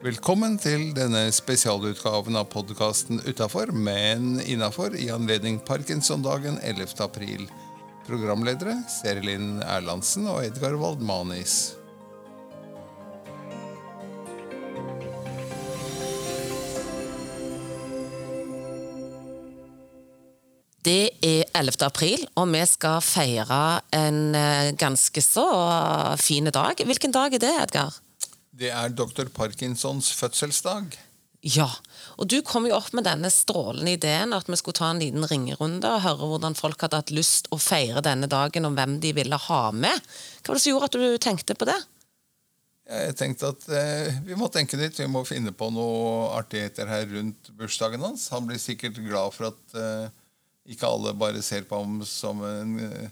Velkommen til denne spesialutgaven av podkasten Utafor, men innafor, i anledning Parkinsondagen 11. april. Programledere Serilin Erlandsen og Edgar Waldmanis. Det er 11. april, og vi skal feire en eh, ganske så fin dag. Hvilken dag er det, Edgar? Det er dr. Parkinsons fødselsdag. Ja, og du kom jo opp med denne strålende ideen at vi skulle ta en liten ringerunde og høre hvordan folk hadde hatt lyst å feire denne dagen, og hvem de ville ha med. Hva var det som gjorde at du tenkte på det? Jeg tenkte at eh, vi må tenke litt. Vi må finne på noe artigheter her rundt bursdagen hans. Han blir sikkert glad for at eh, ikke alle bare ser på ham som en, eh,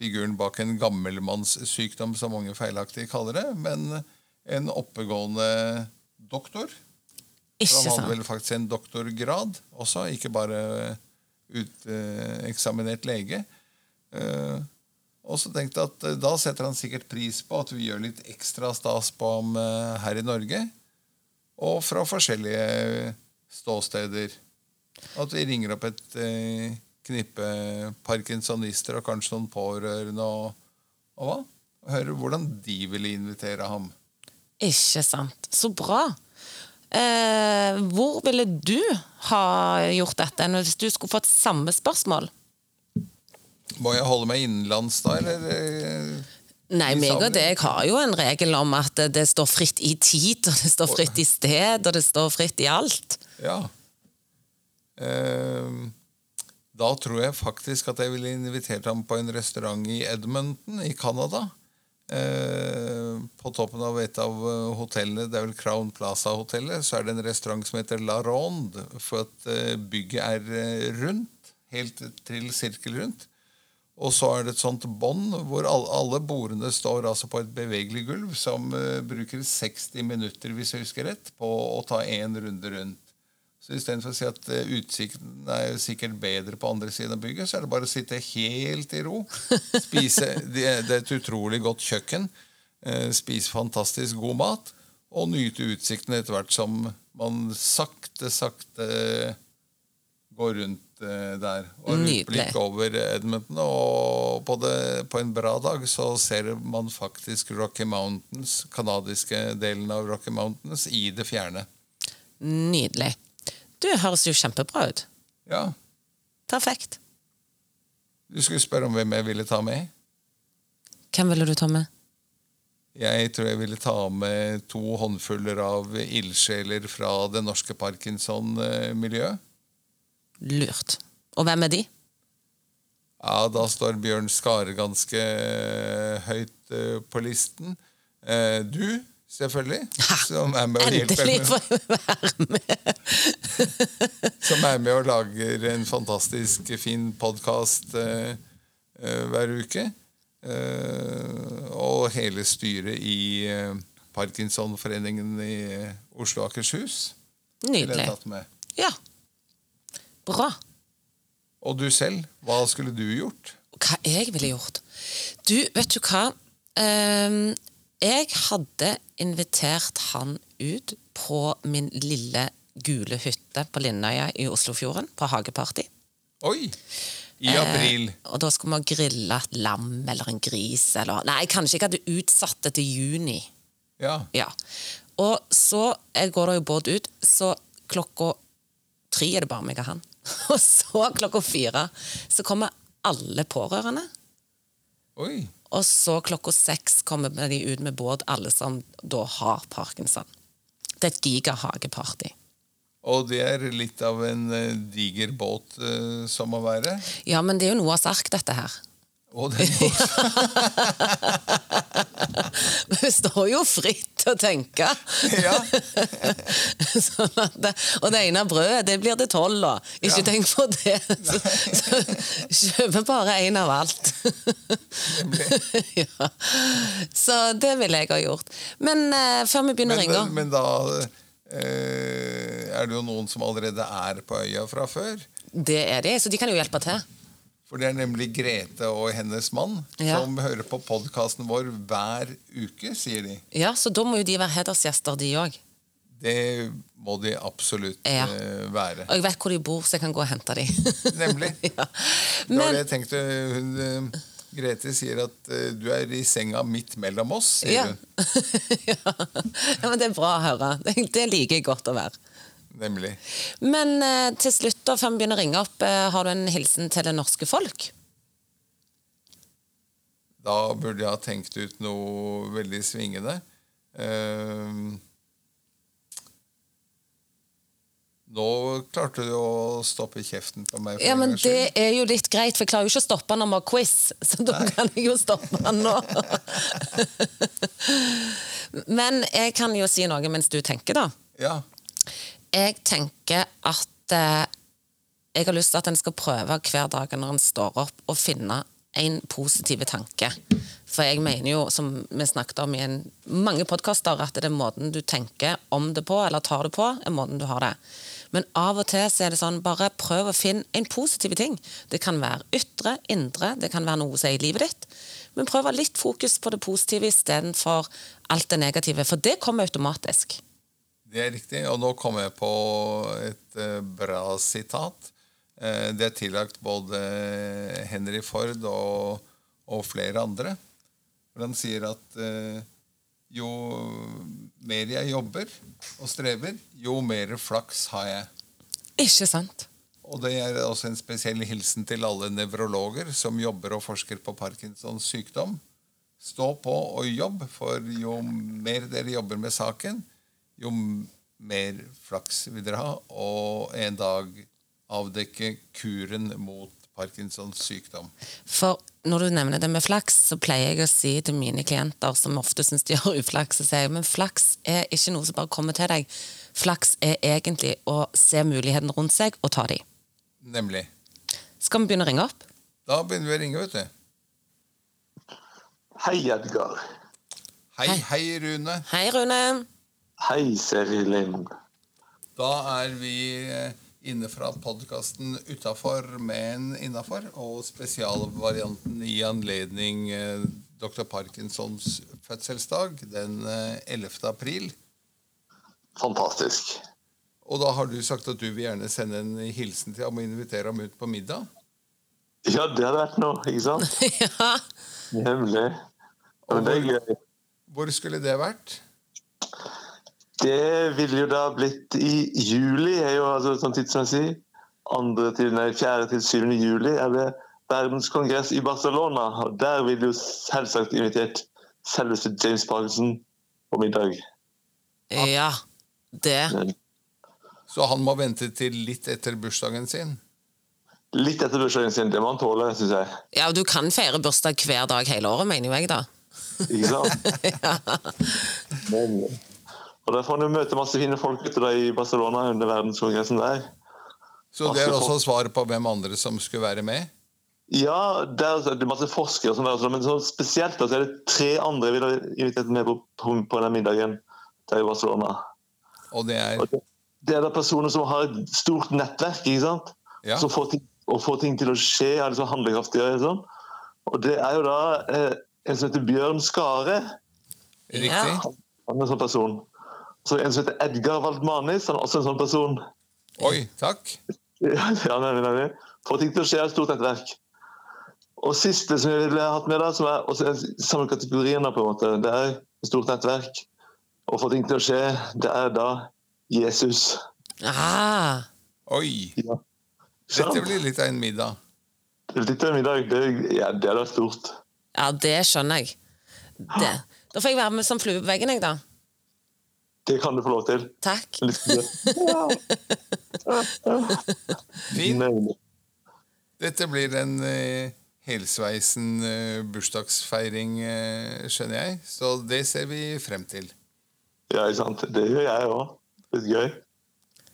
figuren bak en gammelmannssykdom, som mange feilaktig kaller det, men en oppegående doktor. Ikke For han hadde sant? vel faktisk en doktorgrad også, ikke bare eh, uteksaminert lege. Eh, Og så tenkte jeg at eh, da setter han sikkert pris på at vi gjør litt ekstra stas på ham eh, her i Norge. Og fra forskjellige ståsteder. At vi ringer opp et eh, knippe parkinsonister og kanskje noen pårørende og, og hva? Og hører hvordan de ville invitere ham. Ikke sant. Så bra. Eh, hvor ville du ha gjort dette enn hvis du skulle fått samme spørsmål? Må jeg holde meg innenlands da, eller? eh, Nei, i meg og sammenheng. deg har jo en regel om at det- det står fritt i tid, og det står fritt i sted, og det står fritt i alt. Ja. Ehm, da tror jeg faktisk at jeg ville invitert ham på en restaurant i Edmonton i Canada. Ehm, på toppen av et av eh, hotellene, det er vel Crown Plaza-hotellet, så er det en restaurant som heter La Ronde, for at eh, bygget er eh, rundt, helt til sirkel rundt. Og så er det et sånt bånd hvor alle, alle bordene står altså på et bevegelig gulv som eh, bruker 60 minutter, hvis jeg husker rett, på å ta én runde rundt. Så istedenfor å si at eh, utsikten er jo sikkert bedre på andre siden av bygget, så er det bare å sitte helt i ro. Spise Det er det er et utrolig godt kjøkken. eh, Spise fantastisk god mat. Og nyte utsikten etter hvert som man sakte, sakte gå rundt eh, der. Og Nydelig. rundt blikk over Edmonton. Og på, det, på en bra dag så ser man faktisk Rocky Mountains, kanadiske delen av Rocky Mountains, i det fjerne. Nydelig. Du høres jo kjempebra ut. Ja, Perfekt. Du skulle spørre om hvem jeg ville ta med. Hvem ville du ta med? Jeg tror jeg ville ta med to håndfuller av ildsjeler fra det norske Parkinson-miljøet. Lurt. Og hvem er de? Ja, da står Bjørn Skare ganske eh, høyt eh, på listen. Eh, Du, selvfølgelig. Som er med og Endelig hjelper. får jeg være med! som er med og lager en fantastisk fin podkast hver uke. Eh, og hele styret i eh, Parkinsonforeningen i eh, Oslo og Akershus. ville jeg Nydelig. tatt med. Ja. Bra. Og du selv, hva skulle du gjort? hva jeg ville gjort. Du, vet du hva? Ehm, jeg hadde invitert han ut på min lille gule hytte på Linnøya i Oslofjorden, på hageparty. Oi! I april. Eh, og da skulle vi ha grilla et lam eller en gris eller Nei, kanskje jeg hadde utsatt det til juni. Ja. Ja. Og så eh, går det jo båt ut, så klokka tre er det bare meg og han. Og så klokka fire så kommer alle pårørende. Oi. Og så klokka seks kommer de ut med båt, alle som da har parkinson. Det er et gigahageparty. Og det er litt av en eh, diger båt eh, som må være. Ja, men det er jo Noahs ark, dette her. Og den båten Vi står jo fritt til å tenke. Ja. Sånn at det, og det ene brødet, det blir det tolv av. Ikke Ja. tenk på det. Så, så, kjøper bare én av alt. ja. Så det ville jeg ha gjort. Men eh, før vi begynner å Men, ringe men da eh, er det jo noen som allerede er på øya fra før. Det er de, så de kan jo hjelpe til. For det er nemlig Grete og hennes mann Ja. som hører på podkasten vår hver uke, sier de. Ja, Så da må jo de være hedersgjester, de òg. Det må de absolutt Ja. eh, være. Og jeg vet hvor de bor, så jeg kan gå og hente dem. Nemlig. ja. Det var Men det jeg tenkte. Hun, eh, Grete sier at eh, du er i senga midt mellom oss, sier ja. hun. ja. Men det er bra å høre. Det det liker jeg godt å være. Nemlig. Men eh, til slutt, da, før vi begynner å ringe opp, eh, har du en hilsen til det norske folk? Da burde jeg ha tenkt ut noe veldig svingende. Ehm, nå klarte du å stoppe kjeften på meg. for Ja, en men gangs skyld. Det er jo litt greit, for jeg klarer jo ikke å stoppe når vi har quiz. Så da kan jeg jo stoppe han nå. men jeg kan jo si noe mens du tenker, da. Ja, Jeg tenker at eh, jeg har lyst til at en skal prøve hver dag når en står opp, å finne en positiv tanke. For jeg mener jo, som vi snakket om i en, mange podkaster, at det er måten du tenker om det på, eller tar det på, er måten du har det. Men av og til så er det sånn, bare prøv å finne en positiv ting. Det kan være ytre, indre, det kan være noe som er i livet ditt. Men prøv å ha litt fokus på det positive istedenfor alt det negative, for det kommer automatisk. det er riktig. Og nå kom jeg på et eh, bra sitat. Eh, det er tillagt både Henry Ford og, og flere andre. For han sier at eh, jo mer jeg jobber og strever, jo mer flaks har jeg. Ikke sant? Og det er også en spesiell hilsen til alle nevrologer som jobber og forsker på Parkinsons sykdom. Stå på og jobb, for jo mer dere jobber med saken, jo m- mer flaks vil dere ha, og en dag avdekke kuren mot Parkinsons sykdom. For når du nevner det med flaks, så pleier jeg å si til mine klienter, som ofte syns de har uflaks, så sier jeg men flaks er ikke noe som bare kommer til deg. Flaks er egentlig å se mulighetene rundt seg og ta de. Nemlig. Skal vi begynne å ringe opp? Da begynner vi å ringe, vet du. Hei, Edgar. Hei, Hei. hei, Rune. Hei, Rune. Hei, Seri Linn. Da er vi eh, inne fra podkasten Utafor, men innafor, og spesialvarianten i anledning eh, dr. Parkinsons fødselsdag den eh, 11. april. Fantastisk. Og da har du sagt at du vil gjerne sende en hilsen til ham og invitere ham ut på middag. Ja, det hadde vært noe, ikke sant? Ja. Nemlig. Men det er gøy. Hvor skulle det vært? Det ville jo da blitt i juli, er jo altså sånn tidsmessig. Andre til, nei, fjerde til syvende juli er det verdenskongress i Barcelona. Og der ville jo selvsagt invitert selveste James Parkinson på middag. ja. Det. Så han må vente til litt etter bursdagen sin. Litt etter bursdagen sin, det må han tåle, syns jeg. Ja, du kan feire bursdag hver dag hele året, mener jo jeg, da. Ikke sant? Men, og der får han jo møte masse fine folk ute da i Barcelona under verdenskongressen der. Så det er også svaret på hvem andre som skulle være med. Ja, der er altså, det masse forskere som er også, men sånn spesielt da, så er det tre andre vi har invitert med på, på, på den middagen der i Barcelona. Og det er Og det, det er da personer som har et stort nettverk, ikke sant? Ja. Som får ting, og får ting til å skje, er liksom handlekraftige og sånn. Og det er jo da eh, en som heter Bjørn Skare. riktig. Han er en sånn person. Så en som heter Edgar Waldmanis, han er også en sånn person. Oi, takk. Ja, ja, nemlig, nemlig. Få ting til å skje er et stort nettverk. Og siste som jeg ville hatt med, da, som er også den samme kategorien, da, på en måte, det er et stort nettverk. Og få ting til å skje, det er da Jesus. Ah. Oi. Ja. Dette Sant? blir litt av en middag. Litt av en middag, det, ja, det er da stort. Ja, det skjønner jeg. Det. Da får jeg være med som flue på veggen, jeg, da. Det kan du få lov til. Takk. Litt ja. Fint. Nemlig. Dette blir en eh, helsveisen eh, bursdagsfeiring, eh, skjønner jeg. Så det ser vi frem til. Ja, ikke sant. Det gjør jeg òg. Litt gøy.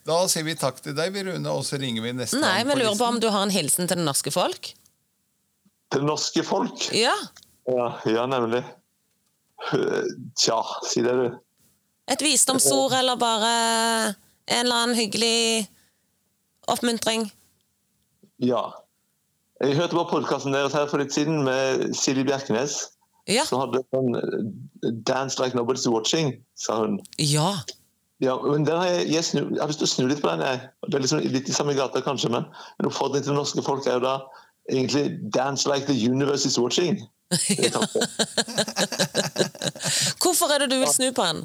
Da sier vi takk til deg, vi, Rune, og så ringer vi neste Nei, gang vi på lurer på listen. om du har en hilsen til det norske folk? Det norske folk. Ja. Ja, ja nemlig. Tja, si det, du. Et visdomsord eller bare en eller annen hyggelig oppmuntring. Ja. Jeg hørte bare podkasten deres her for litt siden med Silje Bjerknes. Ja. Som hadde sånn 'Dance like nobody's watching', sa hun. ja. Ja, men den har jeg, jeg, snu, jeg har lyst til å snu litt på den. Jeg. Det er liksom litt i samme gata, kanskje, men en oppfordring til det norske folk er jo da egentlig 'dance like the universe is watching'. Det er tanken. Hvorfor er det du vil snu på den?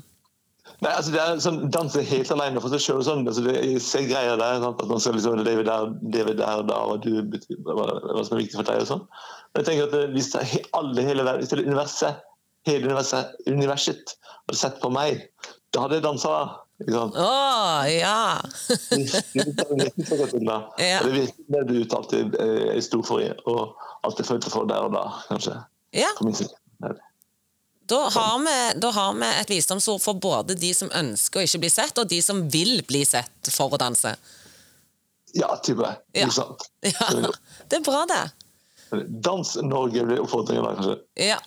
Nei, altså det er sånn Danse helt alene for seg sjøl og sånn. Altså det, jeg ser greier der. Sant? At man skal liksom leve der, leve der da, og du, betyr- hva, hva som er viktig for deg og sånn. Men jeg tenker at eh, hvis det er he- alle hele verden, hvis hele universet, hele universet, universet hadde sett på meg, da hadde jeg dansa. Ikke sant? Å, ja. Det virker så godt til da. Ja. Og det virker det du uttalte eh, jeg sto for, i, og alt jeg følte for der og da, kanskje. ja. For min side. Nei. Da har, vi, da har vi et visdomsord for både de som ønsker å ikke bli sett, og de som vil bli sett for å danse. Ja, type. Ja. Ikke sant? Ja. Det er bra, det. Dans Norge blir oppfordringen da, kanskje. Ja.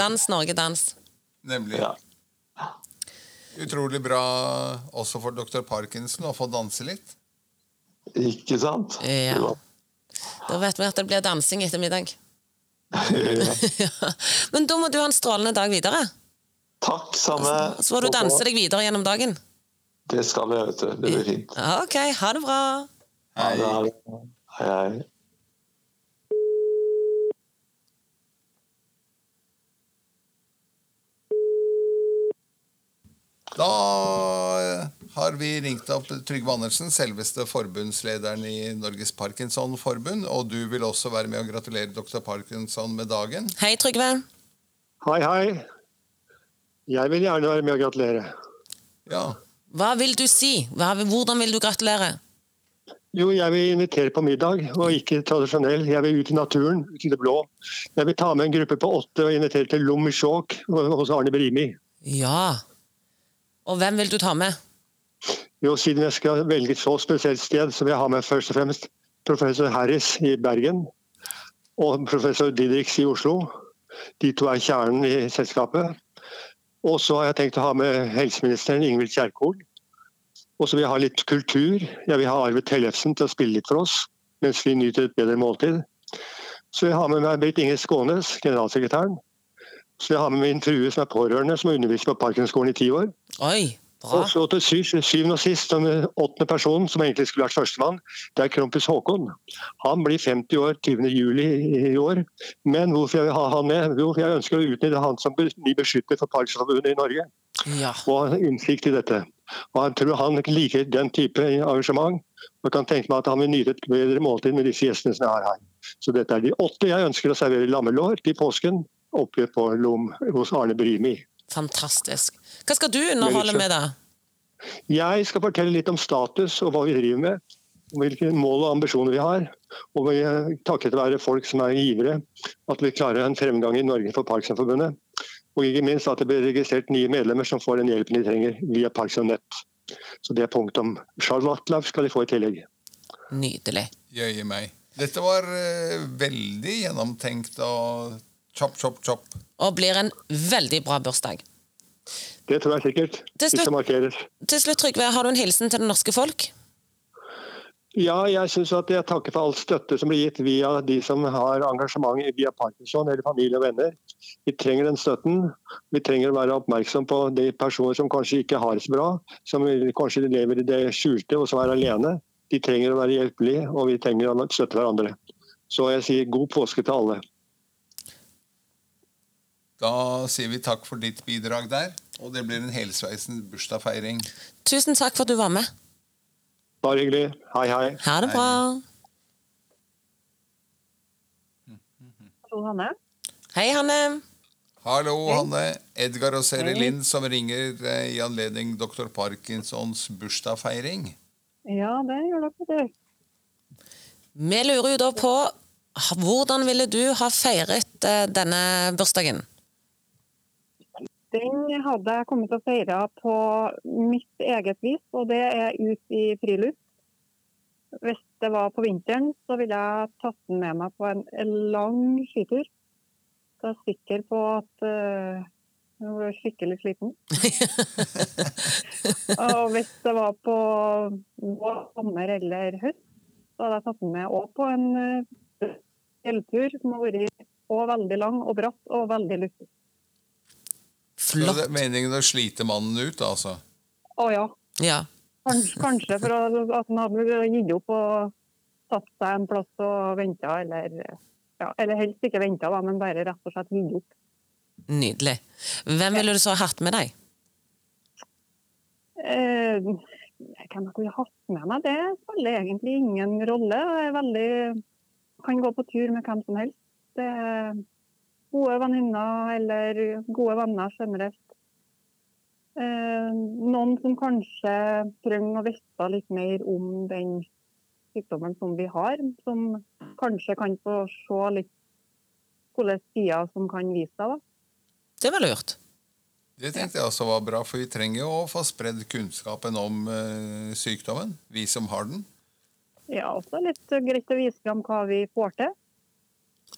Dans Norge, dans. Nemlig. Ja. Utrolig bra også for dr. Parkinson å få danse litt. Ikke sant? Ja. Det var- Da vet vi at det blir dansing etter middag. Ja. Ja. Men da må du ha en strålende dag videre. Takk, samme. Så må du danse deg videre gjennom dagen. Det skal jeg, vet du. Det blir fint. OK, ha det bra. Ha det, ha det. Hei, hei. Da eh, har vi ringt opp Trygve Andersen, selveste forbundslederen i Norges Parkinson-forbund. Og du vil også være med og gratulere dr. Parkinson med dagen. Hei, Trygve. Hei, hei. Jeg vil gjerne være med og gratulere. Ja, Hva vil du si? Hva, hvordan vil du gratulere? Jo, jeg vil invitere på middag, og ikke tradisjonell. Jeg vil ut i naturen, ut i det blå. Jeg vil ta med en gruppe på åtte og invitere til Lommesjåk hos Arne Brimi. Ja. Og hvem vil du ta med? Jo, siden jeg skal velge et så spesielt sted, så vil jeg ha med først og fremst professor Harris i Bergen og professor Didriks i Oslo. De to er kjernen i selskapet. Og så har jeg tenkt å ha med helseministeren Ingvild Kjerkol. Og så vil jeg ha litt kultur. Jeg vil ha Arve Tellefsen til å spille litt for oss mens vi nyter et bedre måltid. Så vil jeg ha med meg Britt Inger Skånes, generalsekretæren. Så vil jeg ha med min frue som er pårørende, som har undervist på Parkinskolen i ti år. Oi, bra. Og så til syv, syvende og sist, den åttende personen, som egentlig skulle vært førstemann, det er Krompis Håkon. Han blir 50 år 20. juli i år. Men hvorfor jeg vil ha han med? Jo, jeg ønsker å utnytte han som ny beskytter for Parkinsonforbundet i Norge, Ja. og har innsikt i dette. Og han tror han liker den type arrangement, og kan tenke meg at han vil nyte et bedre måltid med disse gjestene som jeg har her. Så dette er de åtte jeg ønsker å servere lammelår til påsken oppe på Lom hos Arne Brimi. Fantastisk. Hva skal du underholde med, da? Jeg skal fortelle litt om status og hva vi driver med. og Hvilke mål og ambisjoner vi har. Og vi, eh, takket være folk som er givere, at vi klarer en fremgang i Norge for Parkinsonforbundet. Og ikke minst at det blir registrert nye medlemmer som får den hjelpen de trenger via Parkinson-nett. Så det er punktet om Charlotlav skal de få i tillegg. Nydelig. jøye meg. Dette var eh, veldig gjennomtenkt og chop, chop, chop. Og blir en veldig bra bursdag. Det tror jeg sikkert. Det Hvis slutt- det markeres. Til slutt, Trygve, har du en hilsen til det norske folk? Ja, jeg synes at jeg takker for all støtte som blir gitt via de som har engasjement via Parkinson eller familie og venner. Vi trenger den støtten. Vi trenger å være oppmerksom på de personer som kanskje ikke har det så bra, som kanskje lever i det skjulte og som er alene. De trenger å være hjelpelige, og vi trenger å støtte hverandre. Så jeg sier god påske til alle. Da sier vi takk for ditt bidrag der. Og det blir en helsveisen bursdagsfeiring. Tusen takk for at du var med. Bare hyggelig. Hei, hei. Ha det bra. Hallo, Hanne. Hei, Hanne. Hallo, Hanne. Edgar og Seri Lind som ringer eh, i anledning dr. Parkinsons bursdagsfeiring. Ja, det gjør dere, du. Vi lurer jo da på ha- hvordan ville du ha feiret eh, denne bursdagen? Den hadde jeg kommet til å feire på mitt eget vis, og det er ut i friluft. Hvis det var på vinteren, så ville jeg tatt den med meg på en lang skitur. Så jeg er sikker på at eh, jeg var skikkelig sliten. og hvis det var på vår, sommer eller høst, så hadde jeg tatt den med òg på en eh, fjelltur som har vært og veldig lang og bratt og veldig luftig. Så det Flott. er meningen å slite mannen ut, altså? Å ja, Ja. kanskje, kanskje for å- at han hadde gitt opp og satt seg en plass og venta, eller, ja, eller helst ikke venta, men bare rett og slett gitt opp. Nydelig. Hvem ville du så ha hatt med deg? Eh, hvem jeg kunne hatt med meg, det spiller egentlig ingen rolle. Jeg er veldig, kan gå på tur med hvem som helst. Det er gode venninner eller gode venner generelt. Eh, noen som kanskje trenger å vite litt mer om den sykdommen som vi har, som kanskje kan få se litt hvilke sider som kan vise seg. da. Det var lurt. Det tenkte jeg også var bra, for vi trenger jo å få spredd kunnskapen om eh, sykdommen, vi som har den, Ja, også litt greit å vise fram hva vi får til.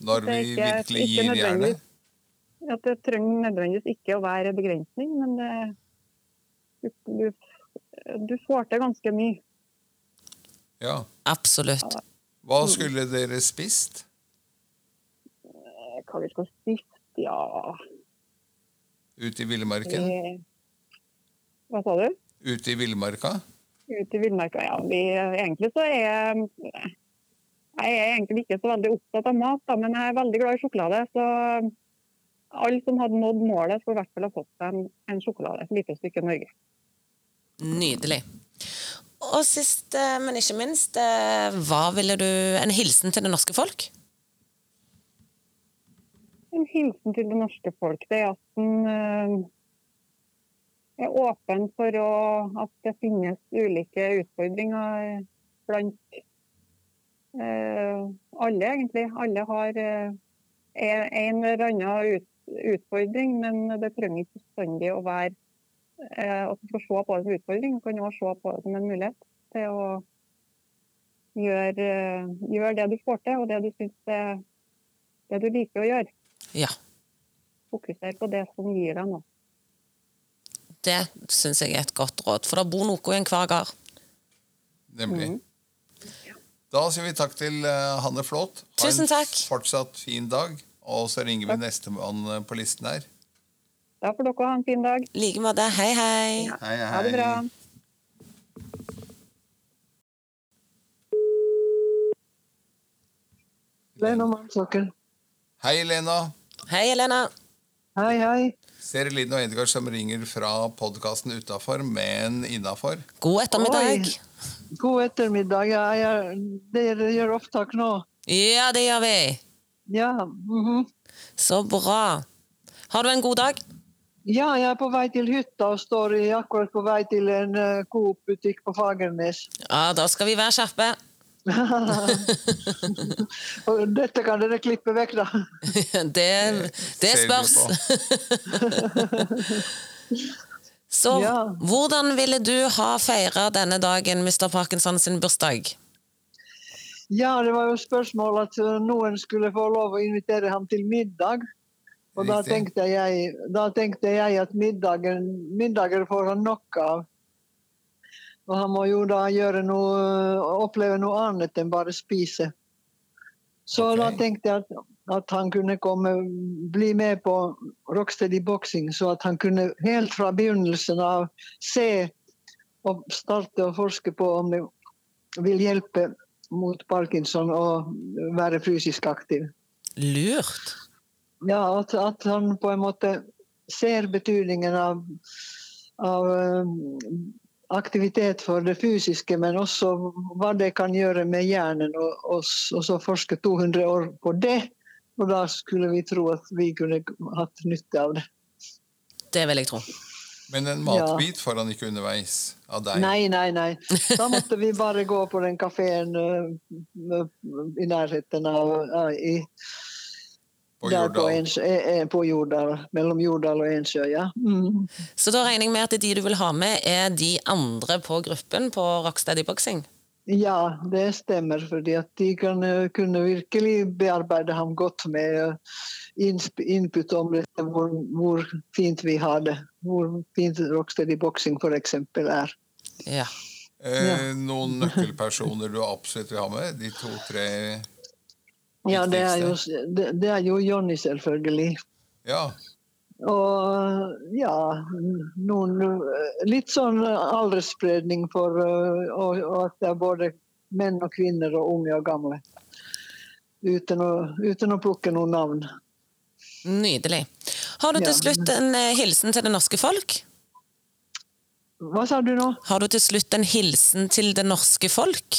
når Det er vi ikke- virkelig ikke gir nødvendigvis. jernet. At det trenger nødvendigvis ikke å være en begrensning, men det, du, du, du får til ganske mye. Ja. Absolutt. Mm. Hva skulle dere spist? Eh, Hva vi skal spise? Ja Ute i villmarken? eh, Hva sa du? Ute i villmarka? Ut i villmarka? Ja, vi, egentlig så er jeg er egentlig ikke så veldig opptatt av mat, da, men jeg er veldig glad i sjokolade. Så alle som hadde nådd målet, skulle i hvert fall ha fått seg en, en sjokolade. Et lite stykke Norge. Nydelig. Og sist, eh, men ikke minst, eh, hva ville du En hilsen til det norske folk? En hilsen til det norske folk det er at en eh, er åpen for å, at det finnes ulike utfordringer blant eh, alle, egentlig. Alle har eh, en en eller annen ut, utfordring, men det trenger ikke bestandig å være eh, at du skal se på det som utfordring. Du kan òg se på det som en mulighet til å gjøre, eh, gjøre det du får til, og det du syns er det du liker å gjøre Ja. fokusere på det som gir deg noe. Det syns jeg er et godt råd, for det bor noe i enhver gard. Nemlig. Mm. Da sier vi takk til eh, Hanne Flåt. Ha Tusen takk. en fortsatt fin dag. Og så ringer vi nestemann eh, på listen her. Da får dere ha en fin dag. I like måte. Hei, hei. Hei, hei. Ha det bra. Lena Malmsaker. Hei, Lena. Hei, Elena. Hei, hei. Ser Linn og Edgar som ringer fra podkasten utafor, men innafor. God ettermiddag. Oi. God ettermiddag. Ja, jeg, dere gjør opptak nå? Ja, det gjør vi. Ja. mhm. Så bra. Har du en god dag? ja, jeg er på vei til hytta og står i- akkurat på vei til en eh, Coop-butikk på Fagernes. Ja, da skal vi være skjerpe. Og Dette kan dere klippe vekk, da. Det, det ser du spørs. Så Ja. hvordan ville du ha feira denne dagen, Mr. Parkinson sin bursdag? Ja, det var jo spørsmål at eh, noen skulle få lov å invitere ham til middag. Og da Riktig. tenkte jeg, da tenkte jeg at middagen, middager får han nok av. Og han må jo da gjøre noe, oppleve noe annet enn bare spise. Så Ok. da tenkte jeg at, at han kunne komme, bli med på Rocksteady Boxing, så at han kunne helt fra begynnelsen av se og starte å forske på om det vil hjelpe mot Parkinson å være fysisk aktiv. Lurt. Ja, at, at han på en måte ser betydningen av, av um, aktivitet for det fysiske, men også hva det kan gjøre med hjernen. Og, og, s- og så forske 200 år på det, og da skulle vi tro at vi kunne hatt nytte av det. Det vil jeg tro. Men en matbit får han ikke underveis av deg. Nei, nei, nei. Da måtte vi bare gå på den kafeen i nærheten av av- i, På der på, Jordal. Ens- eh, eh, på Jordal. Mellom Jordal og Ensjø, ja. Mm. Så da regner jeg med at de du vil ha med, er de andre på gruppen på Rocksteady Boxing? Ja, det stemmer. fordi at de kan, eh, kunne virkelig bearbeide ham godt med eh, innsp- input om dette, hvor, hvor fint vi har det. Hvor fint Rocksteady Boxing f.eks. er. Ja. Eh, noen nøkkelpersoner du absolutt vil ha med? De to-tre Ja, det er jo, Viktigste. det, det er jo Jonny, selvfølgelig. Ja. Og ja noen, Litt sånn aldersspredning for eh, og, og at det er både menn og kvinner og unge og gamle. Uten å, uten å plukke noen navn. Nydelig. Har du Ja. til slutt en eh, hilsen til det norske folk? Hva sa du nå? Har du til slutt en hilsen til det norske folk?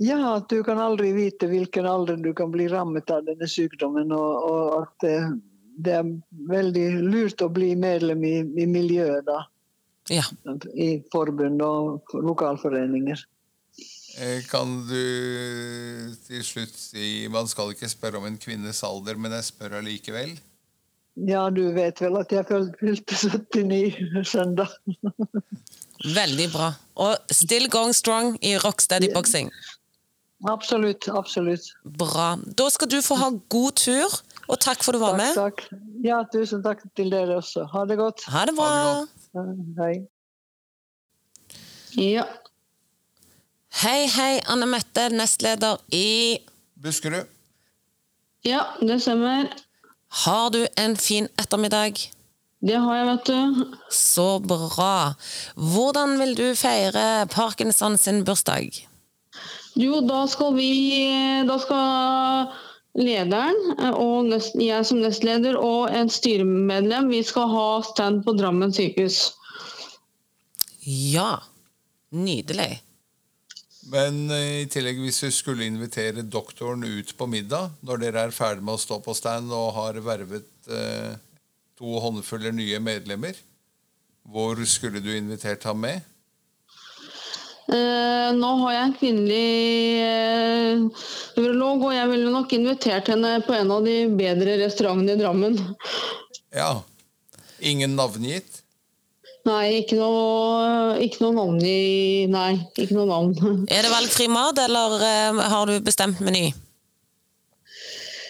Ja, at du kan aldri vite hvilken alder du kan bli rammet av denne sykdommen. Og, og at eh, det er veldig lurt å bli medlem i, i miljøet, da. Ja. I forbund og lokalforeninger. Eh, Kan du til slutt si Man skal ikke spørre om en kvinnes alder, men jeg spør allikevel. Ja, du vet vel at jeg fyl- fylte 79 søndag. Veldig bra. Og still going strong i Rocksteady Boxing. Absolutt, absolutt. Bra. Da skal du få ha god tur, og takk for du var med. Takk, takk. Ja, tusen takk til dere også. Ha det godt. Ha det bra. Ha det Hei. Ja. Hei, hei, Anne Mette, nestleder i Buskerud. ja, det stemmer. Har du en fin ettermiddag? Det har jeg, vet du. Så bra. Hvordan vil du feire Parkinson sin bursdag? Jo, da skal vi Da skal lederen eh, og nest, jeg som nestleder og en styremedlem vi skal ha stand på Drammen sykehus. Ja. Nydelig. Men eh, i tillegg, hvis vi skulle invitere doktoren ut på middag, når dere er ferdig med å stå på stand og har vervet eh, to håndfuller nye medlemmer, hvor skulle du invitert ham med? Eh, nå har jeg en kvinnelig eh, urolog, og jeg ville nok invitert henne på en av de bedre restaurantene i Drammen. Ja. Ingen navngitt? Nei, ikke noe, ikke noe navn i Nei, ikke noe navn. Er det valgfri mat, eller eh, har du bestemt meny?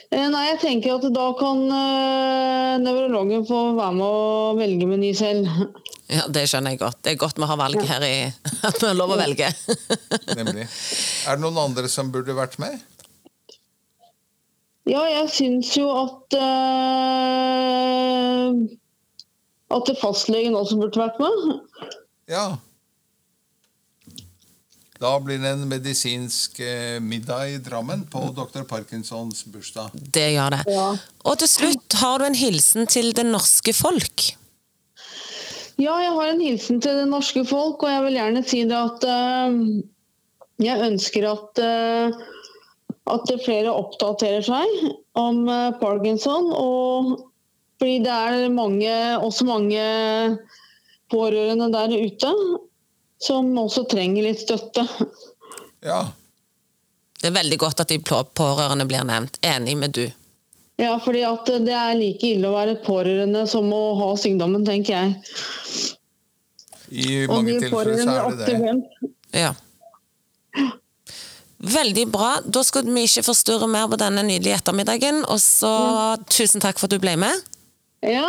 Eh, Nei, jeg tenker at da kan eh, nevrologen få være med å velge meny selv. Ja, Det skjønner jeg godt. Det er godt vi har valg her i At vi har lov å velge. Nemlig. Er det noen andre som burde vært med? Ja, jeg syns jo at eh, At fastlegen også burde vært med. Ja. Da blir det en medisinsk eh, middag i Drammen på dr. Parkinsons bursdag. Det gjør det. Og til slutt, har du en hilsen til det norske folk? Ja, jeg har en hilsen til det norske folk, og jeg vil gjerne si det at eh, jeg ønsker at, eh, at flere oppdaterer seg om eh, parkinson. Og fordi det er mange, også mange pårørende der ute som også trenger litt støtte. Ja. Det er veldig godt at de plå- pårørende blir nevnt. Enig med du. Ja, fordi at det er like ille å være pårørende som å ha sykdommen, tenker jeg. I Og mange vi tilfeller så pårørende er det det. ofte Ja. Veldig bra. Da skal vi ikke forstyrre mer på denne nydelige ettermiddagen. Og så tusen takk for at du ble med. Ja,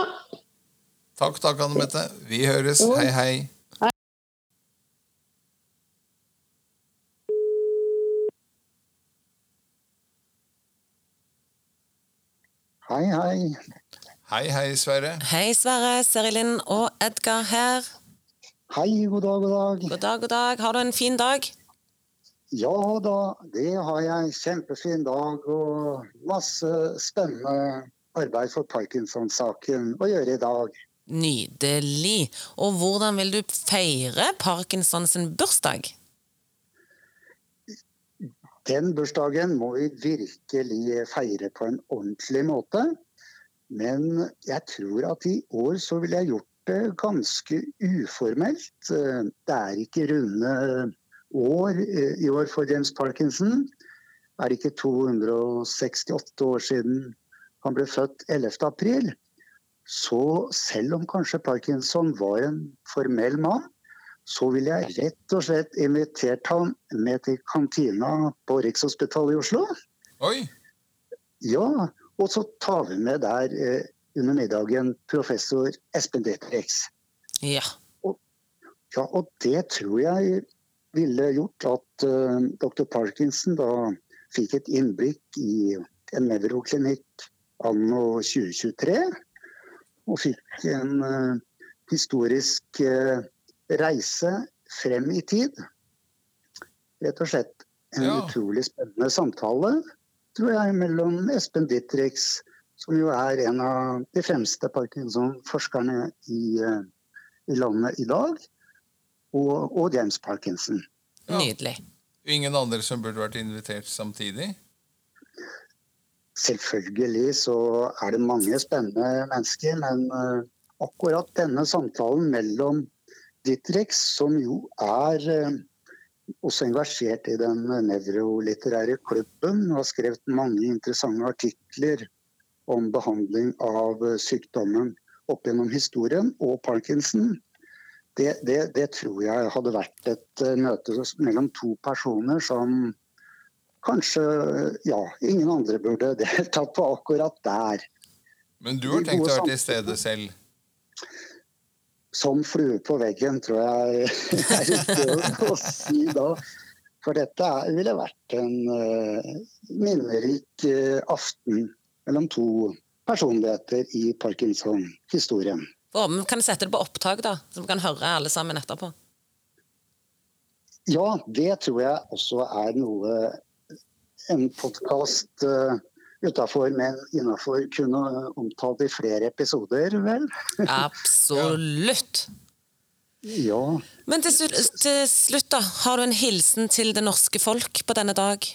Takk, takk, Anne Mette. Vi høres. Hei, hei. Hei, hei. Hei, hei, Sverre. Hei, Sverre, Seri Linn og Edgar her. Hei, god dag, god dag. God dag, god dag. Har du en fin dag? Ja da, det har jeg. Kjempefin dag og masse spennende arbeid for Parkinson-saken å gjøre i dag. Nydelig. Og hvordan vil du feire Parkinson sin bursdag? Den bursdagen må vi virkelig feire på en ordentlig måte. Men jeg tror at i år så ville jeg gjort det ganske uformelt. Eh, Det er ikke runde år eh, i år for James Parkinson. Det er ikke 268 år siden han ble født 11. april. Så selv om kanskje Parkinson var en formell mann, så ville jeg rett og slett invitert han med til kantina på Rikshospitalet i Oslo. Oi. Ja, og så tar vi med der eh, under middagen professor Espen Dietrich. Ja. Ja, og det tror jeg ville gjort at eh, dr. Parkinson da fikk et innblikk i en nevroklinikk anno 2023. Og fikk en eh, historisk eh, reise frem i tid. Rett og slett en Ja. utrolig spennende samtale, tror jeg, mellom Espen Dittrix, som jo er en av de fremste parkinson-forskerne i, eh, i landet i dag, og, og James Parkinson. Ja. Nydelig. Ingen andre som burde vært invitert samtidig? Selvfølgelig så er det mange spennende mennesker, men eh, akkurat denne samtalen mellom Dittrix, som jo er eh, også engasjert i den nevrolitterære klubben og har skrevet mange interessante artikler om behandling av eh, sykdommen opp gjennom historien, og Parkinson, det, det, det tror jeg hadde vært et eh, møte mellom to personer som Kanskje ja, ingen andre burde deltatt på akkurat der. Men du har De tenkt å gode være til samtalene. stede selv? Som flue på veggen, tror jeg er riktig å, å si da. For dette er- ville vært en eh, minnerik eh, aften mellom to personligheter i Parkinson-historien. Å, men kan jeg sette det på opptak, da? Så vi kan høre alle sammen etterpå. Ja, det tror jeg også er noe en podkast uh, utafor, men innafor kunne omtalt i flere episoder, vel? Absolutt. Ja. Men til slutt, til slutt, da. Har du en hilsen til det norske folk på denne dag?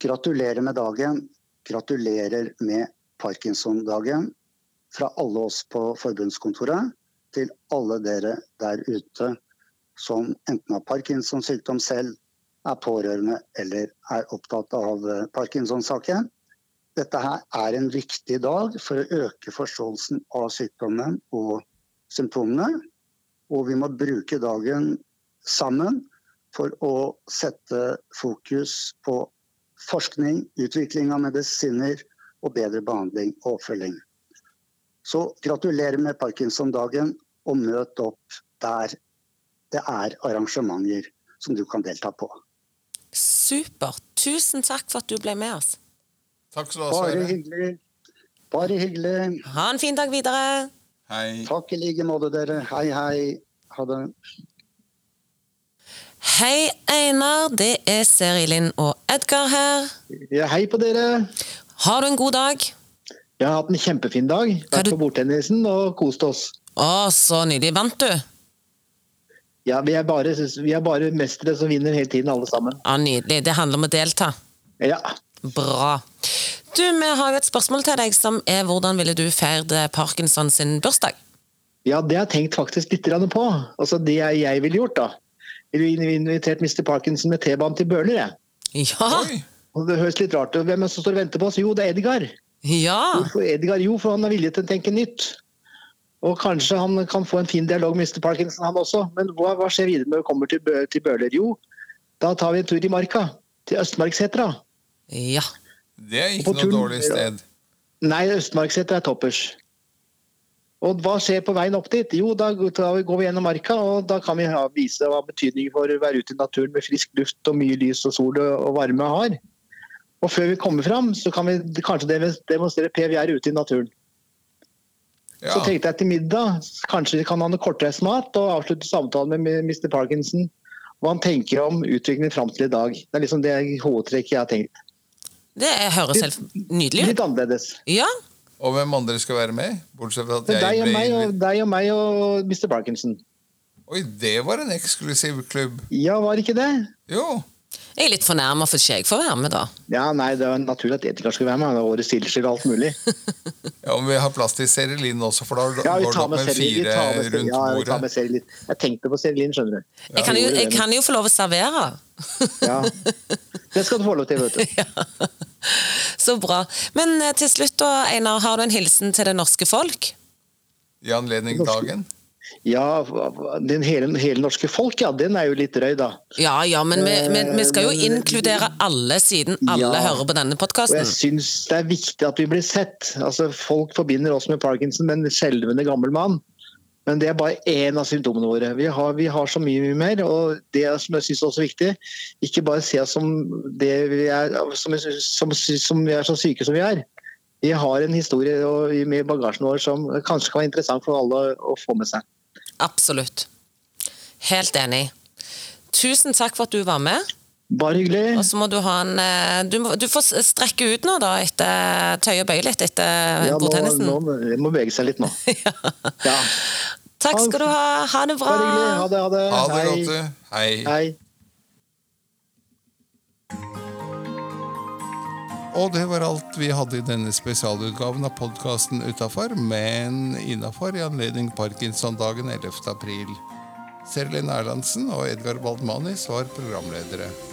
Gratulerer med dagen. Gratulerer med Parkinson-dagen. Fra alle oss på forbundskontoret til alle dere der ute som enten har Parkinsons sykdom selv, er pårørende eller er opptatt av eh, Parkinson-saken. Dette her er en viktig dag for å øke forståelsen av sykdommen og symptomene. Og vi må bruke dagen sammen for å sette fokus på forskning, utvikling av medisiner og bedre behandling og oppfølging. Så gratulerer med Parkinson-dagen, og møt opp der det er arrangementer som du kan delta på. Supert. Tusen takk for at du ble med oss. Takk skal du ha, Bare Sverre. hyggelig. Bare hyggelig. Ha en fin dag videre. Hei. Takk i like måte, dere. Hei, hei. Ha det. Hei, Einar. Det er Seri Linn og Edgar her. Ja, hei på dere. Har du en god dag? Jeg har hatt en kjempefin dag. Hva er Vært du- på bordtennisen og kost oss. Å, så nydelig. Vant du? Ja, vi er bare, vi er bare mestere som vinner hele tiden, alle sammen. Ja, Nydelig. Det handler om å delta. Ja. Bra. Du, Vi har jo et spørsmål til deg som er hvordan ville du feirt Parkinson sin bursdag? ja, det har jeg tenkt faktisk litt grann på. Altså, det jeg- jeg ville gjort, da. Ville vi invitert Mr. Parkinson med T-banen til Bøhler, jeg. Ja! Oi. Og Det høres litt rart ut. Hvem er det som står og venter på oss? Jo, det er Edgar. Ja! Hvorfor Edgar? Jo, for han er villig til å tenke nytt. Og kanskje han kan få en fin dialog med Mr. Parkinson, han også. Men hva, hva skjer videre når vi kommer til, Bø til Bøhler? Jo, da tar vi en tur i marka. Til Østmarksetra. Ja. Det er ikke På noe turen- dårlig sted. Nei, Østmarkseter er toppers. Og hva skjer på veien opp dit? Jo, da tar vi- går vi gjennom marka, og da kan vi ha, vise hva betydningen for å være ute i naturen med frisk luft og mye lys og sol og og varme har. Og før vi kommer fram, så kan vi kanskje dem- demonstrere Per vi er ute i naturen. Ja. Så tenkte jeg til middag, kanskje vi kan ha noe kortreist mat og avslutte samtalen med Mr. Parkinson. Hva han tenker om utviklingen fram til i dag. Det er liksom det hovedtrekket jeg har tenkt. Det er- høres helt nydelig Litt ut. annerledes. Ja. Og hvem andre skal være med? Bortsett fra at Det er jeg deg og ble meg og, invitert. deg og meg og Mr. Parkinson. Oi, det var en eksklusiv klubb. Ja, var det ikke det? Jo. Jeg er litt fornærma for ikke jeg får være med, da. Ja, nei, det var naturlig at Edgar skulle være med. Det var årets stilleskyld og alt mulig. Ja, Om vi har plass til Serelin også, for da Ja, går vi det tar opp med med Serlin. Vi fire tar med Serlin. rundt Ja, vi tar bordet. med Serlin. Jeg tenkte på Serlin, skjønner du. Jeg kan jo, gjorde jeg det, kan jo få lov å servere. Ja. Det skal du få lov til, vet du. Så bra. Men eh, til slutt, da, Einar, har du en hilsen til det norske folk? I anledning dagen. Ja, den hele, hele norske folk, ja, den er jo litt drøy, da. Ja ja, men vi, vi, vi skal jo Eh, men- inkludere alle, siden alle Ja. hører på denne Og jeg podkasten. syns det er viktig at vi blir sett. Altså, Folk forbinder oss med Parkinson, men skjelvende gammel mann. Men det er bare én av symptomene våre. Vi har, vi har så mye, mye mer. Og det som jeg syns også er viktig, ikke bare se oss som det vi er, som, som, som vi er så syke som vi er. Vi har en historie og- med bagasjen vår som kanskje kan være interessant for alle å få med seg. Absolutt. Helt enig. Tusen takk for at du var med. Bare hyggelig. Og så må du ha en eh, Du, må, du får s- strekke ut nå, da, etter tøye og bøye litt etter Ja, nå, bordtennisen. nå det må bevege seg litt nå. Ja. Takk skal du ha. Ha det bra. Bare hyggelig. Ha det, ha det. Ha det Hei. godt, du. Hei. Hei. Og det var alt vi hadde i denne spesialutgaven av podkasten Utafor, men innafor i anledning Parkinson-dagen 11. april. Serlin Erlandsen og Edgar Baldmani var programledere.